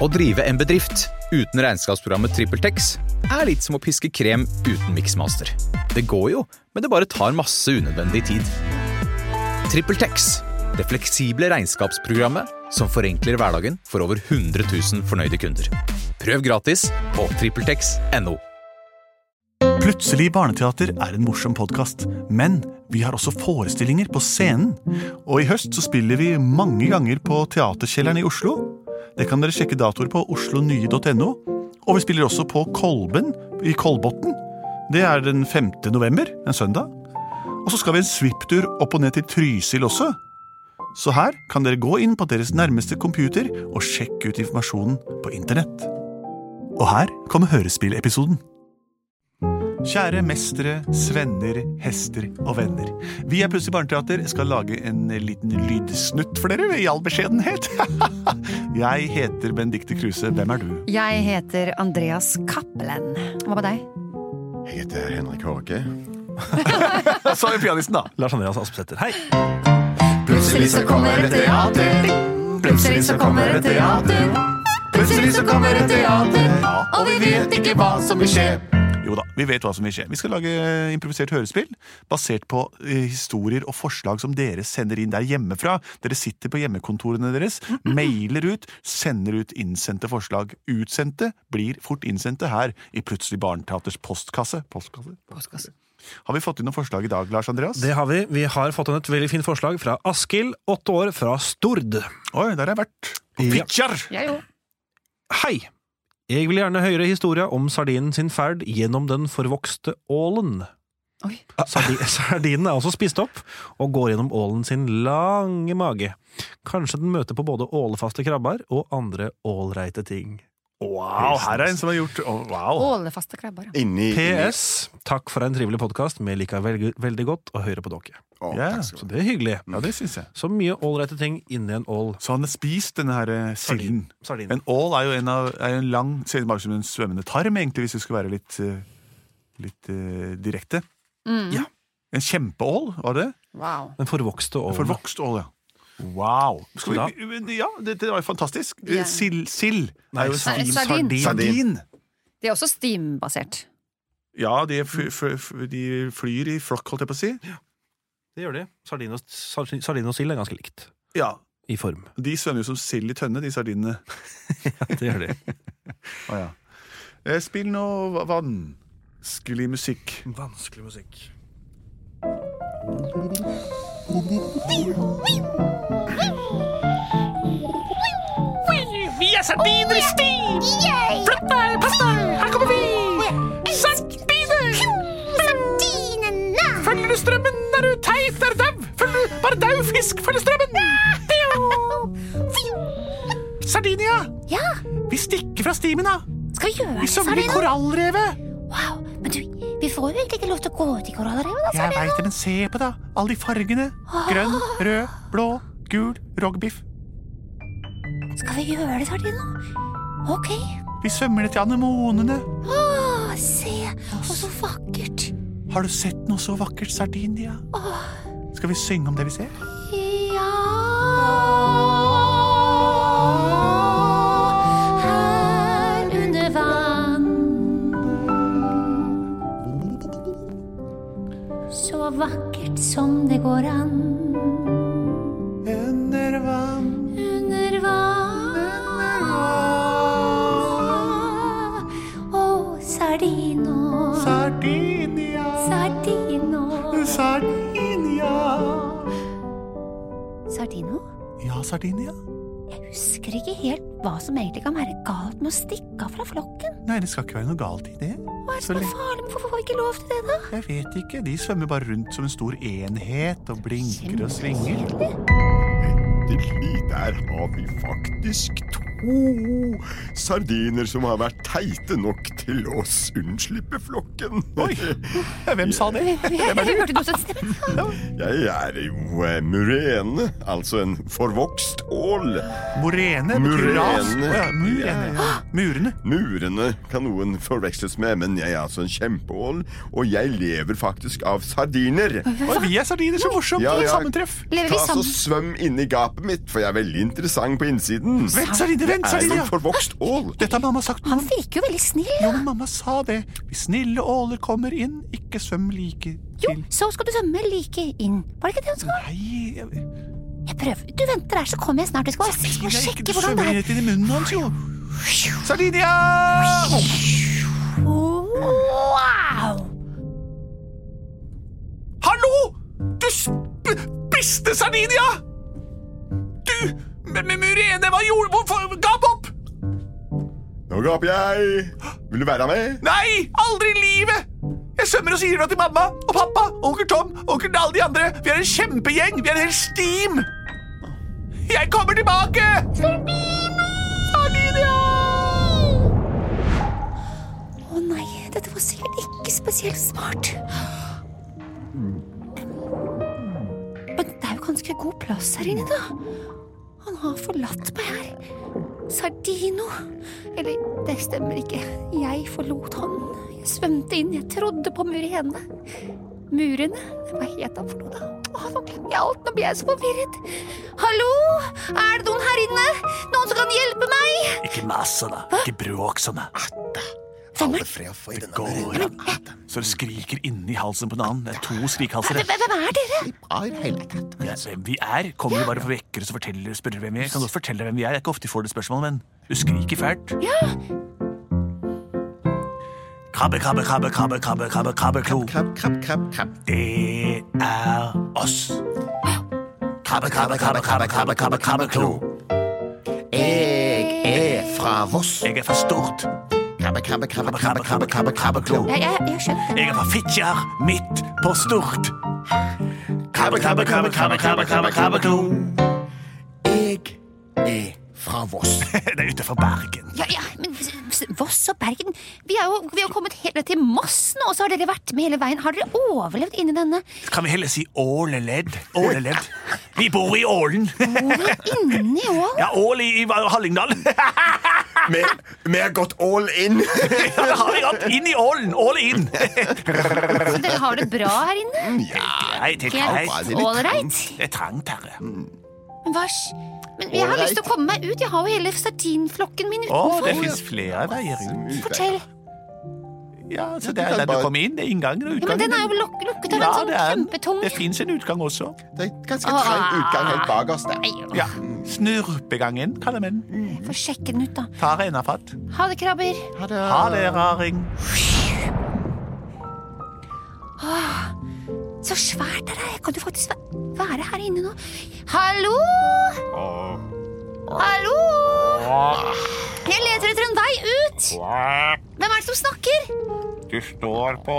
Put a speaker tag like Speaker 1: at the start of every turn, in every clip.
Speaker 1: Å drive en bedrift uten regnskapsprogrammet TrippelTex er litt som å piske krem uten miksmaster. Det går jo, men det bare tar masse unødvendig tid. TrippelTex, det fleksible regnskapsprogrammet som forenkler hverdagen for over 100 000 fornøyde kunder. Prøv gratis på TrippelTex.no.
Speaker 2: Plutselig barneteater er en morsom podkast, men vi har også forestillinger på scenen. Og i høst så spiller vi mange ganger på Teaterkjelleren i Oslo. Det kan dere sjekke datoer på oslonye.no. Og vi spiller også på Kolben i Kolbotn. Det er den 5. november, en søndag. Og så skal vi en svipptur opp og ned til Trysil også. Så her kan dere gå inn på deres nærmeste computer og sjekke ut informasjonen på internett. Og her kommer hørespillepisoden. Kjære mestere, svenner, hester og venner. Vi er Plutselig barneteater skal lage en liten lydsnutt for dere, i all beskjedenhet. Jeg heter Benedicte Kruse. Hvem er du?
Speaker 3: Jeg heter Andreas Cappelen. Hva med deg?
Speaker 4: Jeg heter Henrik Hårke.
Speaker 2: Så er pianisten, da. Lars Andreas Aspesæter. Hei.
Speaker 3: Plutselig så kommer et teater. Plutselig så kommer et teater. Plutselig så kommer et teater. Og vi vet ikke hva som vil skje.
Speaker 2: Jo da, vi vet hva som vil skje. Vi skal lage eh, improvisert hørespill basert på eh, historier og forslag som dere sender inn der hjemmefra. Dere sitter på hjemmekontorene deres,
Speaker 5: Mm-hmm.
Speaker 2: mailer ut, sender ut innsendte forslag. Utsendte blir fort innsendte her i Plutselig barneteaters postkasse. postkasse. Har vi fått inn noen forslag i dag, Lars Andreas?
Speaker 5: Det har vi. Vi har fått inn et veldig fint forslag fra Askild, åtte år, fra Stord.
Speaker 2: Oi, der har jeg vært.
Speaker 5: Ja.
Speaker 2: Fitjar!
Speaker 3: Jeg jo.
Speaker 5: Hei! Jeg vil gjerne høre historia om sardinen sin ferd gjennom den forvokste ålen.
Speaker 3: Oi.
Speaker 5: Sardi sardinen er også spist opp og går gjennom ålen sin lange mage. Kanskje den møter på både ålefaste krabber og andre ålreite ting.
Speaker 2: Wow, her er en som har gjort oh, Wow.
Speaker 3: Ålefaste krabber. ja.
Speaker 4: Inni
Speaker 5: PS. Takk for en trivelig podkast. Vi liker veldig, veldig godt å høre på dere.
Speaker 4: Å,
Speaker 2: Ja.
Speaker 4: takk skal du
Speaker 5: Så det er hyggelig.
Speaker 2: Ja, det syns jeg.
Speaker 5: Så mye ålreite ting inni en ål.
Speaker 2: Så han har spist denne her eh, silden.
Speaker 5: Sardin.
Speaker 2: En ål er jo en, av, er jo en lang Ser ut bare som en svømmende tarm, egentlig, hvis du skal være litt, eh, litt eh, direkte.
Speaker 3: Mm.
Speaker 5: Ja.
Speaker 2: En kjempeål, var det?
Speaker 3: Wow.
Speaker 5: Den forvokste ålen.
Speaker 2: Forvokst ål, ja. Wow. Skal
Speaker 5: Ja.
Speaker 2: vi, men ja, dette var jo fantastisk.
Speaker 3: Ja.
Speaker 2: Eh, Sild sild
Speaker 5: Nei,
Speaker 2: er jo en
Speaker 3: Nei,
Speaker 2: sardin.
Speaker 3: sardin.
Speaker 4: Sardin.
Speaker 2: Sardin.
Speaker 3: De er også steambasert.
Speaker 2: Ja, de, fly, fly- fly- de flyr i flokk, holdt jeg på å si.
Speaker 5: Det gjør de. Sardin og, sardin sardin og sild er ganske likt
Speaker 2: Ja,
Speaker 5: i form.
Speaker 2: De svømmer jo som sild i tønne, de sardinene.
Speaker 5: Det gjør de.
Speaker 2: Å, ja. Eh, Spill noe va- vanskelig musikk.
Speaker 5: Vanskelig musikk.
Speaker 6: Vi er sardiner i stil! Flytt deg, pass deg! Her kommer vi! Sardiner! Sardinene! Følger du strømmen, er du teit, er du dau? Følger du bare dau fisk, følger strømmen? Sardinia!
Speaker 7: Ja,
Speaker 6: Vi stikker fra stimen, da!
Speaker 7: skal vi gjøre det,
Speaker 6: Vi samler
Speaker 7: Sardina?
Speaker 6: korallrevet!
Speaker 7: Wow, men du, vi får jo egentlig ikke lov til å gå ut i korallrevet, da,
Speaker 6: Jeg
Speaker 7: Sardina.
Speaker 6: veit det, men se på, da. Alle de fargene. Grønn,
Speaker 7: Ah.
Speaker 6: rød, blå, gul, rogbiff.
Speaker 7: Skal vi gjøre det, Sardina? Ok.
Speaker 6: Vi svømmer ned til anemonene.
Speaker 7: Å, se, og så vakkert.
Speaker 6: Har du sett noe så vakkert, Sardinia? Skal vi synge om det vi ser?
Speaker 7: Ja, her under vann. Så vakkert som det går an.
Speaker 6: Under vann
Speaker 7: Under vann. Å, Sardino,
Speaker 6: Sardinia
Speaker 7: Sardino.
Speaker 6: Sardinia
Speaker 7: Sardino?
Speaker 6: Ja, Sardinia
Speaker 7: Jeg husker ikke helt hva som egentlig kan være galt med å stikke av fra flokken.
Speaker 6: Nei, det skal ikke være noe galt i det
Speaker 7: Hva er det
Speaker 6: Så
Speaker 7: som er
Speaker 6: lenge-
Speaker 7: farlig? Hvorfor får vi ikke lov til det, da?
Speaker 6: Jeg vet ikke, de svømmer bare rundt som en stor enhet Og blinker og svinger
Speaker 4: Endelig, der har vi faktisk to sardiner som har vært teite nok til å unnslippe flokken.
Speaker 6: ja, Hvem sa det?
Speaker 3: Hørte du noe sånt?
Speaker 4: Jeg er jo eh, murene, altså en forvokst Kokstål!
Speaker 2: Morene
Speaker 4: Murene.
Speaker 2: betyr ras. Å ja, murene. ja.
Speaker 7: Ah!
Speaker 2: Murene.
Speaker 4: Murene kan noen forveksles med, men jeg er altså en kjempeål, og jeg lever faktisk av sardiner.
Speaker 2: Å, vi er sardiner, så morsomt!
Speaker 4: Ja,
Speaker 2: Ja,
Speaker 4: ja.
Speaker 2: Sammentreff.
Speaker 3: Lever vi
Speaker 4: Ta så
Speaker 3: sammen?
Speaker 4: svøm inni gapet mitt, for jeg er veldig interessant på innsiden.
Speaker 2: Vent, sardiner, vent,
Speaker 4: Er
Speaker 2: sardiner.
Speaker 4: jo
Speaker 2: ja.
Speaker 4: forvokst ål.
Speaker 2: Dette har mamma sagt.
Speaker 3: Han virker jo veldig snill.
Speaker 2: Jo, men mamma sa det. Hvis snille åler kommer inn, ikke svøm like
Speaker 3: Jo,
Speaker 2: til. Mm.
Speaker 3: så skal du svømme like inn. Var det ikke det han sa?
Speaker 2: Nei, jeg,
Speaker 3: Jeg prøver. Du venter der, så kommer jeg snart. Jeg skal bare, jeg
Speaker 2: jeg
Speaker 3: skal bare
Speaker 2: ikke,
Speaker 3: sjekke
Speaker 2: du
Speaker 3: hvordan det
Speaker 2: svømmer
Speaker 3: er.
Speaker 2: rett inn i munnen hans, jo. Sardinia!
Speaker 3: Wow!
Speaker 2: Hallo! Du sp spiste sardinia! Du, med murene, hva gjorde Hvorfor gap opp?
Speaker 4: Nå gaper jeg. Vil du være med?
Speaker 2: Nei, aldri i livet! Jeg svømmer og sier det til mamma og pappa, onkel Tom, onkel alle de andre. Vi er en kjempegjeng. Vi er en hel steam. Jeg kommer tilbake!
Speaker 3: Å nei, dette var sikkert ikke spesielt smart. Men det er jo ganske god plass her inne, da. Han har forlatt meg her. Sardino. Eller, det stemmer ikke. Jeg forlot han. Jeg svømte inn, jeg trodde på murene. Murene? Hva het han for noe, da? Å, nå glemmer jeg alt, nå blir jeg så forvirret. Hallo? Er det noen her inne? Noen som kan hjelpe meg?
Speaker 2: Ikke masse, da. Ikke bråk sånn. da.
Speaker 3: Hvem er,
Speaker 2: Det går an. Så det skriker inni halsen på en annen. Det er to skrikhalsere.
Speaker 3: hvem, hvem er dere?
Speaker 2: Ja, hvem eh, vi er? Kommer du bare og vekker oss og forteller, spør hvem vi er? Kan godt fortelle deg hvem vi er. Det er ikke ofte vi får det spørsmålet, men du skriker fælt. Ja. Krabbe, krabbe, krabbe, krabbe, krabbe, krabbe, krabbeklo.
Speaker 8: Krabb, krabb, krabb, krabb.
Speaker 2: Det er oss. Krabbe, krabbe, krabbe, krabbe, krabbe, krabbe, krabbeklo.
Speaker 8: Jeg er fra Voss.
Speaker 2: Jeg er fra Stort.
Speaker 8: Krabbe, krabbe, krabbe,
Speaker 2: Krabbe,
Speaker 8: krabbe,
Speaker 2: krabbe, krabbe, krabbe, krabbeklo.
Speaker 3: Jeg, jeg, jeg skjønte
Speaker 2: Jeg er fra Fitjar, midt på Stort. Krabbe, krabbe, krabbe, krabbe, krabbe, krabbe, krabbeklo.
Speaker 8: Jeg er fra Voss.
Speaker 2: Det er ute fra Bergen.
Speaker 3: Ja, ja, men s- s- Voss og Bergen Vi er jo vi er jo kommet hele til Moss nå, og så har dere vært med hele veien. Har dere overlevd inni denne
Speaker 2: Kan vi heller si åleledd? Åleledd. Vi bor i Ålen.
Speaker 3: Hvor er inni ål?
Speaker 2: Ja, Ål i, i Hallingdal.
Speaker 4: Vi vi har gått all in.
Speaker 2: Ja, det har vi hatt. Inn i Ålen. Ål inn.
Speaker 3: Så dere har det bra her inne?
Speaker 2: Nei, det er trangt.
Speaker 3: Helt ålreit?
Speaker 2: Det er trangt, herre.
Speaker 3: Men hva s- Men jeg har lyst til å komme meg ut. Jeg har jo hele sardinflokken min
Speaker 2: Å, det
Speaker 3: utenfor.
Speaker 2: fins flere veier ut.
Speaker 3: Fortell.
Speaker 2: Ja, så det er der du kommer inn. Det er inngangen og
Speaker 3: Ja, men
Speaker 2: utgangen.
Speaker 3: den er jo luk lukket av
Speaker 2: Ja,
Speaker 3: en sånn
Speaker 2: det er den.
Speaker 3: kjempetung
Speaker 2: Det fins en utgang også.
Speaker 4: Det er ganske trang utgang helt bakerst
Speaker 3: Ah.
Speaker 4: der.
Speaker 3: Nei,
Speaker 2: Ja. Snurpegangen, kaller vi den.
Speaker 3: jeg får sjekke den ut, da.
Speaker 2: Tar enafatt.
Speaker 3: Ha det, krabber.
Speaker 2: Ha det, raring.
Speaker 3: Så svært det er. Jeg kan jo faktisk væ- være her inne nå. Hallo? Hallo? Jeg leter etter en vei ut. Hvem er det som snakker?
Speaker 9: Du står på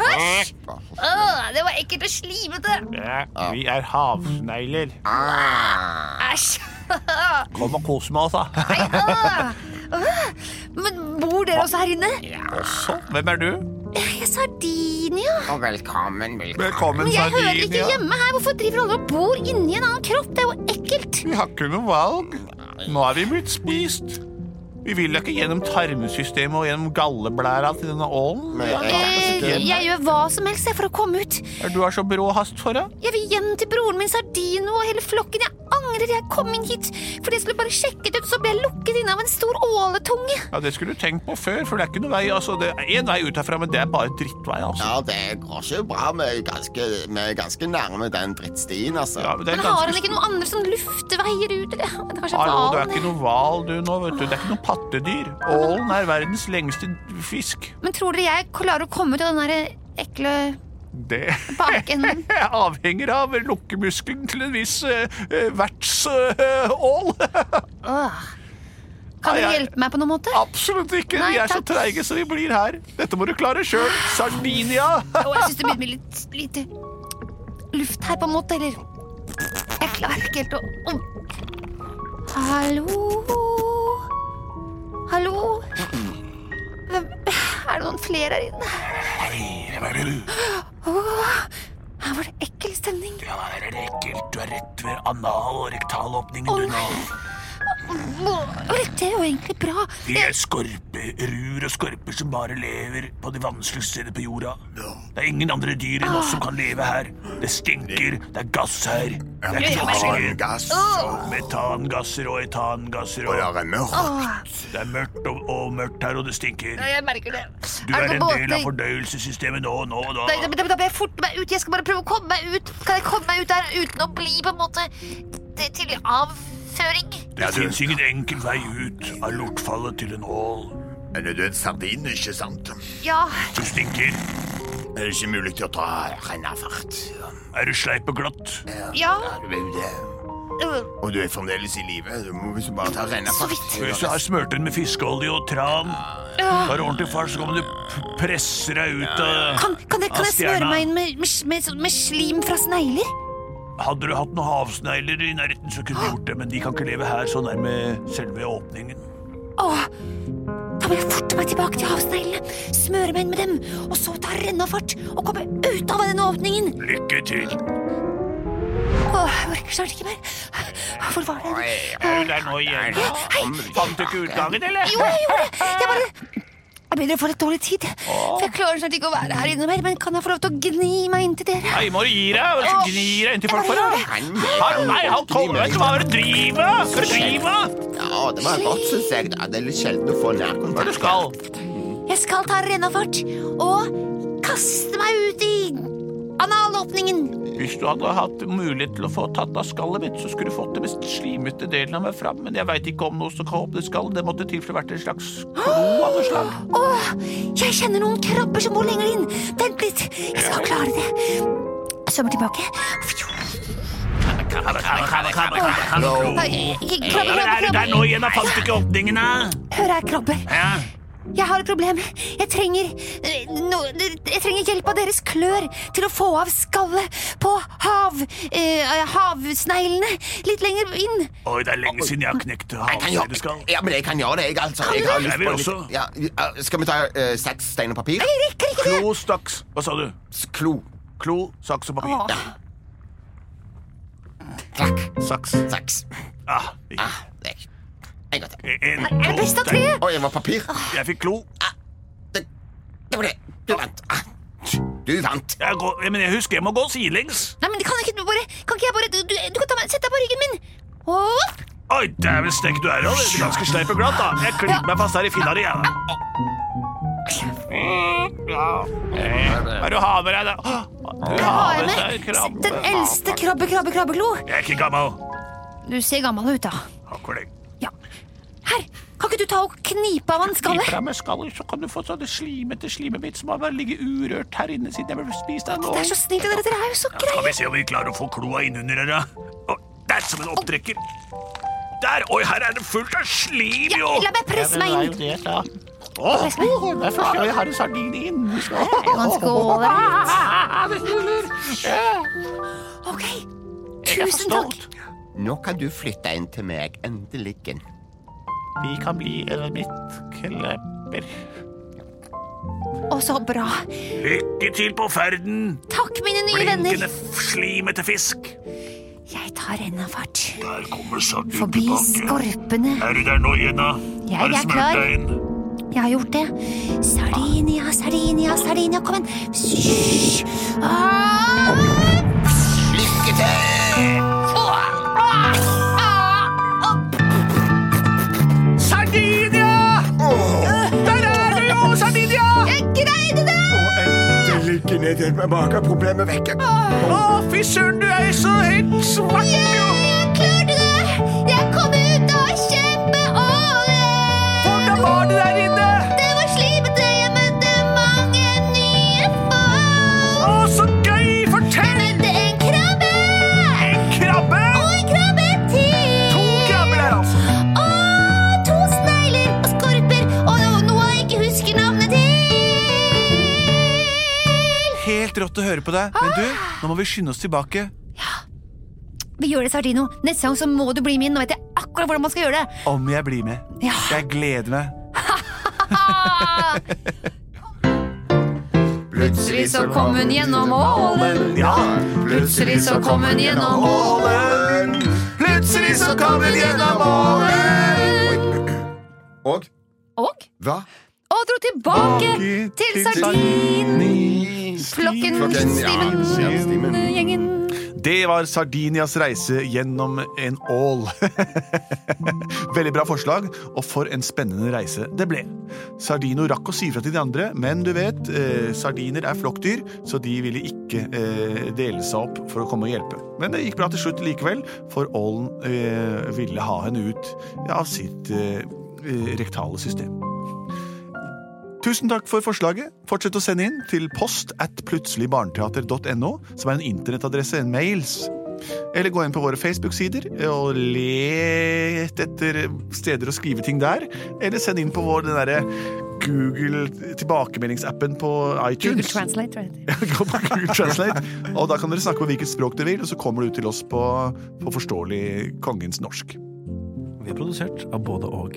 Speaker 3: Æsj! Åh, det var ekkelt og slimete.
Speaker 2: Vi er havsnegler.
Speaker 3: Æsj.
Speaker 2: Ah. Kom og kos med oss, da.
Speaker 3: Men bor dere også her inne?
Speaker 2: Også. Sånn, Hvem er du?
Speaker 3: Jeg er Sardinia.
Speaker 8: Og velkommen, velkommen.
Speaker 2: Velkommen,
Speaker 3: Men jeg hører ikke hjemme her. Hvorfor driver alle og bor inni en annen kropp? Det er jo ekkelt.
Speaker 2: Vi har ikke noe valg. Nå er vi blitt spist. Vi vil da ikke gjennom tarmsystemet og gjennom galleblæra til denne ålen.
Speaker 4: Nei,
Speaker 2: Ja,
Speaker 4: jeg
Speaker 2: da.
Speaker 4: er
Speaker 3: Eh,
Speaker 4: ikke-
Speaker 3: Jeg gjør hva som helst jeg, for å komme ut.
Speaker 2: Er Du har så brå hast for det.
Speaker 3: Jeg vil hjem til broren min Sardino og hele flokken. Jeg angrer jeg kom inn hit. Fordi jeg skulle bare sjekket ut, så ble jeg lukket inne av en stor åletunge.
Speaker 2: Ja, Det skulle du tenkt på før, for det er ikke noe vei. altså. Det er én vei ut herfra, men det er bare drittvei. altså.
Speaker 4: Ja, det går ikke bra. Vi er ganske, vi er ganske nærme den drittstien, altså.
Speaker 2: Ja, men det er
Speaker 3: Men har
Speaker 2: ganske
Speaker 3: han ikke noen andre sånn luftveier ut? Eller? Men Kanskje
Speaker 2: Hallo, du er
Speaker 3: hvalen?
Speaker 2: ikke noe hval du nå, vet du. Det er ikke noe pattedyr. Ålen er verdens lengste fisk.
Speaker 3: Men tror dere jeg klarer å komme ut av den der ekle
Speaker 2: Det
Speaker 3: bakenden?
Speaker 2: avhenger av lukkemuskelen til en viss eh, eh, vertsål.
Speaker 3: Åh. Kan
Speaker 2: Ai,
Speaker 3: du
Speaker 2: ai.
Speaker 3: hjelpe meg på noen måte?
Speaker 2: Absolutt ikke.
Speaker 3: Nei,
Speaker 2: vi er så
Speaker 3: takk.
Speaker 2: treige så vi blir her. Dette må du klare sjøl. Sardinia.
Speaker 3: Åh, jeg syns det begynner med litt lite luft her, på en måte. Eller Jeg klarer ikke helt å å. Hallo? Hallo? Hvem Er det noen flere her inne?
Speaker 2: Hvem er du?
Speaker 3: Åh, her var det ekkel stemning.
Speaker 2: Ja, er det ekkelt.
Speaker 10: er rett ved anal- og rektalåpningen,
Speaker 3: Å,
Speaker 10: du nå.
Speaker 3: Åh, Det er jo egentlig bra.
Speaker 10: Vi er skorperur og skorper som bare lever på de vanskeligste stedene på jorda. Det er ingen andre dyr enn oss som kan leve her. Det stinker, det er gass her. Det er kloksinger,
Speaker 4: Gass
Speaker 10: metangasser og etangasser.
Speaker 4: og det
Speaker 10: Og
Speaker 4: er mørkt.
Speaker 10: det er mørkt og, og mørkt her, og det stinker.
Speaker 3: Jeg merker det.
Speaker 10: Du er en del av fordøyelsessystemet nå, nå, nå.
Speaker 3: Da, da, da må jeg forte meg ut. Jeg skal bare prøve å komme meg ut. Kan jeg komme meg ut der uten å bli på en måte til- til avføring?
Speaker 10: Det fins ingen enkel vei ut av lortfallet til en ål.
Speaker 4: Er det en sardin, ikke sant?
Speaker 3: Ja.
Speaker 10: Du stinker.
Speaker 4: Det er ikke mulig til å ta rennafart.
Speaker 10: Er du sleip og glatt?
Speaker 3: Ja.
Speaker 8: eh,
Speaker 3: øh,
Speaker 4: Og du er fremdeles i live. Du må visst bare ta
Speaker 3: Så
Speaker 4: rennafart.
Speaker 3: vidt.
Speaker 10: Hvis du har smurt den med fiskeolje og tran, tar du ordentlig fart, så kommer du p- presser deg ut av
Speaker 3: Kan, kan, jeg, kan jeg smøre meg inn med, med, med, sånn- med slim fra snegler?
Speaker 10: Hadde du hatt noen havsnegler i nærheten, så kunne du gjort det, men de kan ikke leve her så nærme selve åpningen.
Speaker 3: Åh, da må jeg forte meg tilbake til havsneglene, smøre meg inn med dem, og så ta rennafart og komme ut av denne åpningen.
Speaker 10: Lykke til.
Speaker 3: Åh, jeg orker snart ikke mer. Hvor var det?
Speaker 10: Er du der nå igjen? Fant du ikke utgangen, eller?
Speaker 3: Jo, jeg gjorde det! Jeg bare Jeg begynner å få litt dårlig tid. For jeg klarer snart ikke å være her inne mer, men kan jeg få lov til å gni meg inn til dere?
Speaker 10: Nei, må du gi deg? Hva slags gnir deg inntil folk for
Speaker 3: Jeg
Speaker 10: deg?
Speaker 3: bare
Speaker 10: Han- Nei, han kommer ikke. Hva er det du driver med? Hva er det du driver med?
Speaker 8: Ja, det var godt, synes jeg. da. Det er litt sjelden å få
Speaker 10: Hva er det
Speaker 8: nærkontakt.
Speaker 10: du skal?
Speaker 3: Jeg skal ta rennafart og kaste meg ut i analåpningen.
Speaker 10: Hvis du hadde hatt mulighet til å få tatt av skallet mitt, så skulle du fått den mest slimete delen av meg fram, men jeg veit ikke om noe som kan åpne skall. Det måtte til for å vært en slags klo av noe slag.
Speaker 3: Åh, jeg kjenner noen krabber som bor lenger inn. Vent litt, jeg skal klare det. Jeg svømmer tilbake. Nei, ikke- Krabbe,
Speaker 10: Eller er
Speaker 3: krabbe,
Speaker 10: du der nå
Speaker 3: krabbe.
Speaker 10: igjen? Jeg fant du ikke åpningen, da?
Speaker 3: Hør her, krabbe.
Speaker 10: Ja.
Speaker 3: Jeg har et problem. Jeg trenger, eh, no, jeg trenger hjelp av deres klør til å få av skallet på hav, eh, havsneglene litt lenger inn.
Speaker 10: Oi, det er lenge siden jeg har knekt
Speaker 8: Jeg kan gjøre,
Speaker 10: havsnegeskall.
Speaker 8: ja, men jeg kan gjøre det, jeg, altså.
Speaker 3: Kan du
Speaker 8: Jeg har
Speaker 3: det?
Speaker 8: lyst
Speaker 10: Jeg vil
Speaker 8: på litt-
Speaker 10: også.
Speaker 8: Ja, ja, skal vi ta eh, saks, stein og papir?
Speaker 3: Jeg rekker ikke det.
Speaker 10: Klo, saks Hva sa du?
Speaker 8: Klo.
Speaker 10: Klo, saks og papir.
Speaker 3: Åh,
Speaker 8: Klakk.
Speaker 10: Saks.
Speaker 8: Saks.
Speaker 10: Ah,
Speaker 8: Ah, det er- En gang til.
Speaker 10: en,
Speaker 3: Er det best av tre?
Speaker 8: Å, jeg var papir.
Speaker 10: Jeg fikk klo.
Speaker 8: Det, det var det. Du vant. Ah, Du vant.
Speaker 10: Jeg går, men jeg husker jeg må gå sidelengs.
Speaker 3: Nei, men det kan ikke du bare Kan ikke jeg bare Du, du kan ta meg Sett deg på ryggen min. Opp.
Speaker 10: Oi, dæven stekk, du er jo det er ganske sleip og glatt, da. Jeg klyper meg fast her i finna di, jeg. da. Hva er det du har med deg, da? Du
Speaker 3: Hva
Speaker 10: har
Speaker 3: er
Speaker 10: med
Speaker 3: det?
Speaker 10: deg krabbe.
Speaker 3: Den eldste krabbe, krabbe, krabbeklo.
Speaker 10: Jeg er ikke gammel.
Speaker 3: Du ser gammel ut, da.
Speaker 10: Akkurat.
Speaker 3: Ja. Her, kan ikke du ta og knipe av han
Speaker 10: Gi
Speaker 3: skallet?
Speaker 10: fra meg skallet, så kan du få sånne slimete slimet mitt som har bare ligget urørt her inne siden jeg ble spist av nå.
Speaker 3: Det er så snilt av dere, dere er jo så
Speaker 10: Skal
Speaker 3: greie.
Speaker 10: vi se om vi klarer å få kloa innunder her, da. Å, Der, som en opptrekker. Der! Oi, her er det fullt av slim,
Speaker 3: Ja,
Speaker 10: jo!
Speaker 3: la meg presse meg inn.
Speaker 10: Det er jo det, da. Åh, det er første gang jeg har en sardin inni skallet.
Speaker 3: Ganske ålreit.
Speaker 10: det smuler.
Speaker 3: Ok, tusen takk.
Speaker 8: Nå kan du flytte inn til meg, endeligen.
Speaker 10: Vi kan bli
Speaker 2: eh,
Speaker 10: eremittklebber.
Speaker 3: Og så bra.
Speaker 10: Lykke til på ferden,
Speaker 3: Takk, mine nye venner.
Speaker 10: blinkende slimete fisk.
Speaker 3: Jeg tar rennafart.
Speaker 10: Der kommer sardin
Speaker 3: Forbi
Speaker 10: tilbake.
Speaker 3: skorpene.
Speaker 10: Er du der nå igjen, da?
Speaker 3: Jeg
Speaker 10: Har du
Speaker 3: er
Speaker 10: smurt
Speaker 3: klar.
Speaker 10: deg inn?
Speaker 3: Jeg har gjort det. Sardinia, sardinia, sardinia, kom igjen. Hysj. Ah!
Speaker 8: Lykke til!
Speaker 10: Sardinia! Der er du jo, sardinia!
Speaker 3: Jeg greide det!
Speaker 4: Endeligen er det med mageproblemet vekke.
Speaker 10: Å, fy søren, du er så helt svart, jo!
Speaker 3: Jeg klarte det! Jeg kom ut og kjempeålreit!
Speaker 10: Hvordan var det der inne?
Speaker 3: Det var slipete, jeg møtte mange nye folk.
Speaker 10: Å, så gøy!
Speaker 3: Jeg
Speaker 10: Fortell!
Speaker 3: møtte en krabbe,
Speaker 10: En krabbe!
Speaker 3: og en krabbe til.
Speaker 10: To krabber der, altså.
Speaker 3: Og to snegler og skorper, og no- noe jeg ikke husker navnet til.
Speaker 5: Helt rått å høre på deg, men du,
Speaker 3: Ah.
Speaker 5: nå må vi skynde oss tilbake.
Speaker 3: Vi gjør det, Sardino. Neste gang så må du bli med inn. Nå vet jeg akkurat hvordan man skal gjøre det.
Speaker 5: Om jeg blir med.
Speaker 3: Ja.
Speaker 5: Jeg gleder meg.
Speaker 3: Plutselig så kom hun gjennom ålen.
Speaker 4: Ja,
Speaker 3: Plutselig så kom hun gjennom
Speaker 4: ålen. Plutselig så kom hun gjennom ålen. Og
Speaker 3: Og
Speaker 11: hva?
Speaker 3: og dro tilbake til sardinflokken,
Speaker 11: Flokken, ja, ja,
Speaker 3: stimen,
Speaker 11: stimen.
Speaker 3: gjengen.
Speaker 2: Det var Sardinias reise gjennom en ål. Veldig bra forslag, og for en spennende reise det ble. Sardino rakk å si fra til de andre, men du vet, eh, sardiner er flokkdyr, så de ville ikke eh, dele seg opp for å komme og hjelpe. Men det gikk bra til slutt likevel, for ålen eh, ville ha henne ut av sitt eh, eh, rektale system. Tusen takk for forslaget. Fortsett å sende inn til post at plutseligbarneteater.no, som er en internettadresse, en mails. Eller gå inn på våre Facebook-sider og let etter steder å skrive ting der. Eller send inn på vår den derre Google-tilbakemeldingsappen på
Speaker 3: Google
Speaker 2: iTunes.
Speaker 3: Translate, tror jeg det heter.
Speaker 2: Gå på Google Translate, og da kan dere snakke på hvilket språk dere vil, og så kommer det ut til oss på, på forståelig kongens norsk.
Speaker 5: Vi er produsert av både og.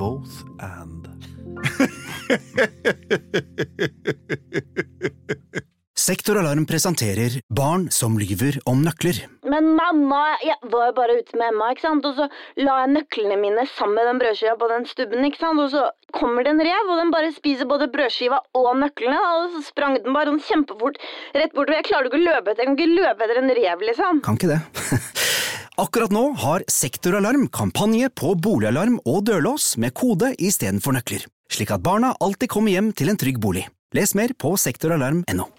Speaker 5: Both and.
Speaker 10: Sektoralarm presenterer Barn som lyver om nøkler.
Speaker 12: Men mamma, jeg var jo bare ute med Emma, ikke sant? og så la jeg nøklene mine sammen med den brødskiva på den stubben, ikke sant? og så kommer det en rev, og den bare spiser både brødskiva og nøklene, da, og så sprang den bare sånn kjempefort rett bortover. Jeg klarer jo ikke å løpe etter, jeg kan ikke løpe etter en rev, liksom.
Speaker 10: Kan ikke det. Akkurat nå har Sektoralarm kampanje på boligalarm og dørlås med kode istedenfor nøkler, slik at barna alltid kommer hjem til en trygg bolig. Les mer på sektoralarm.no.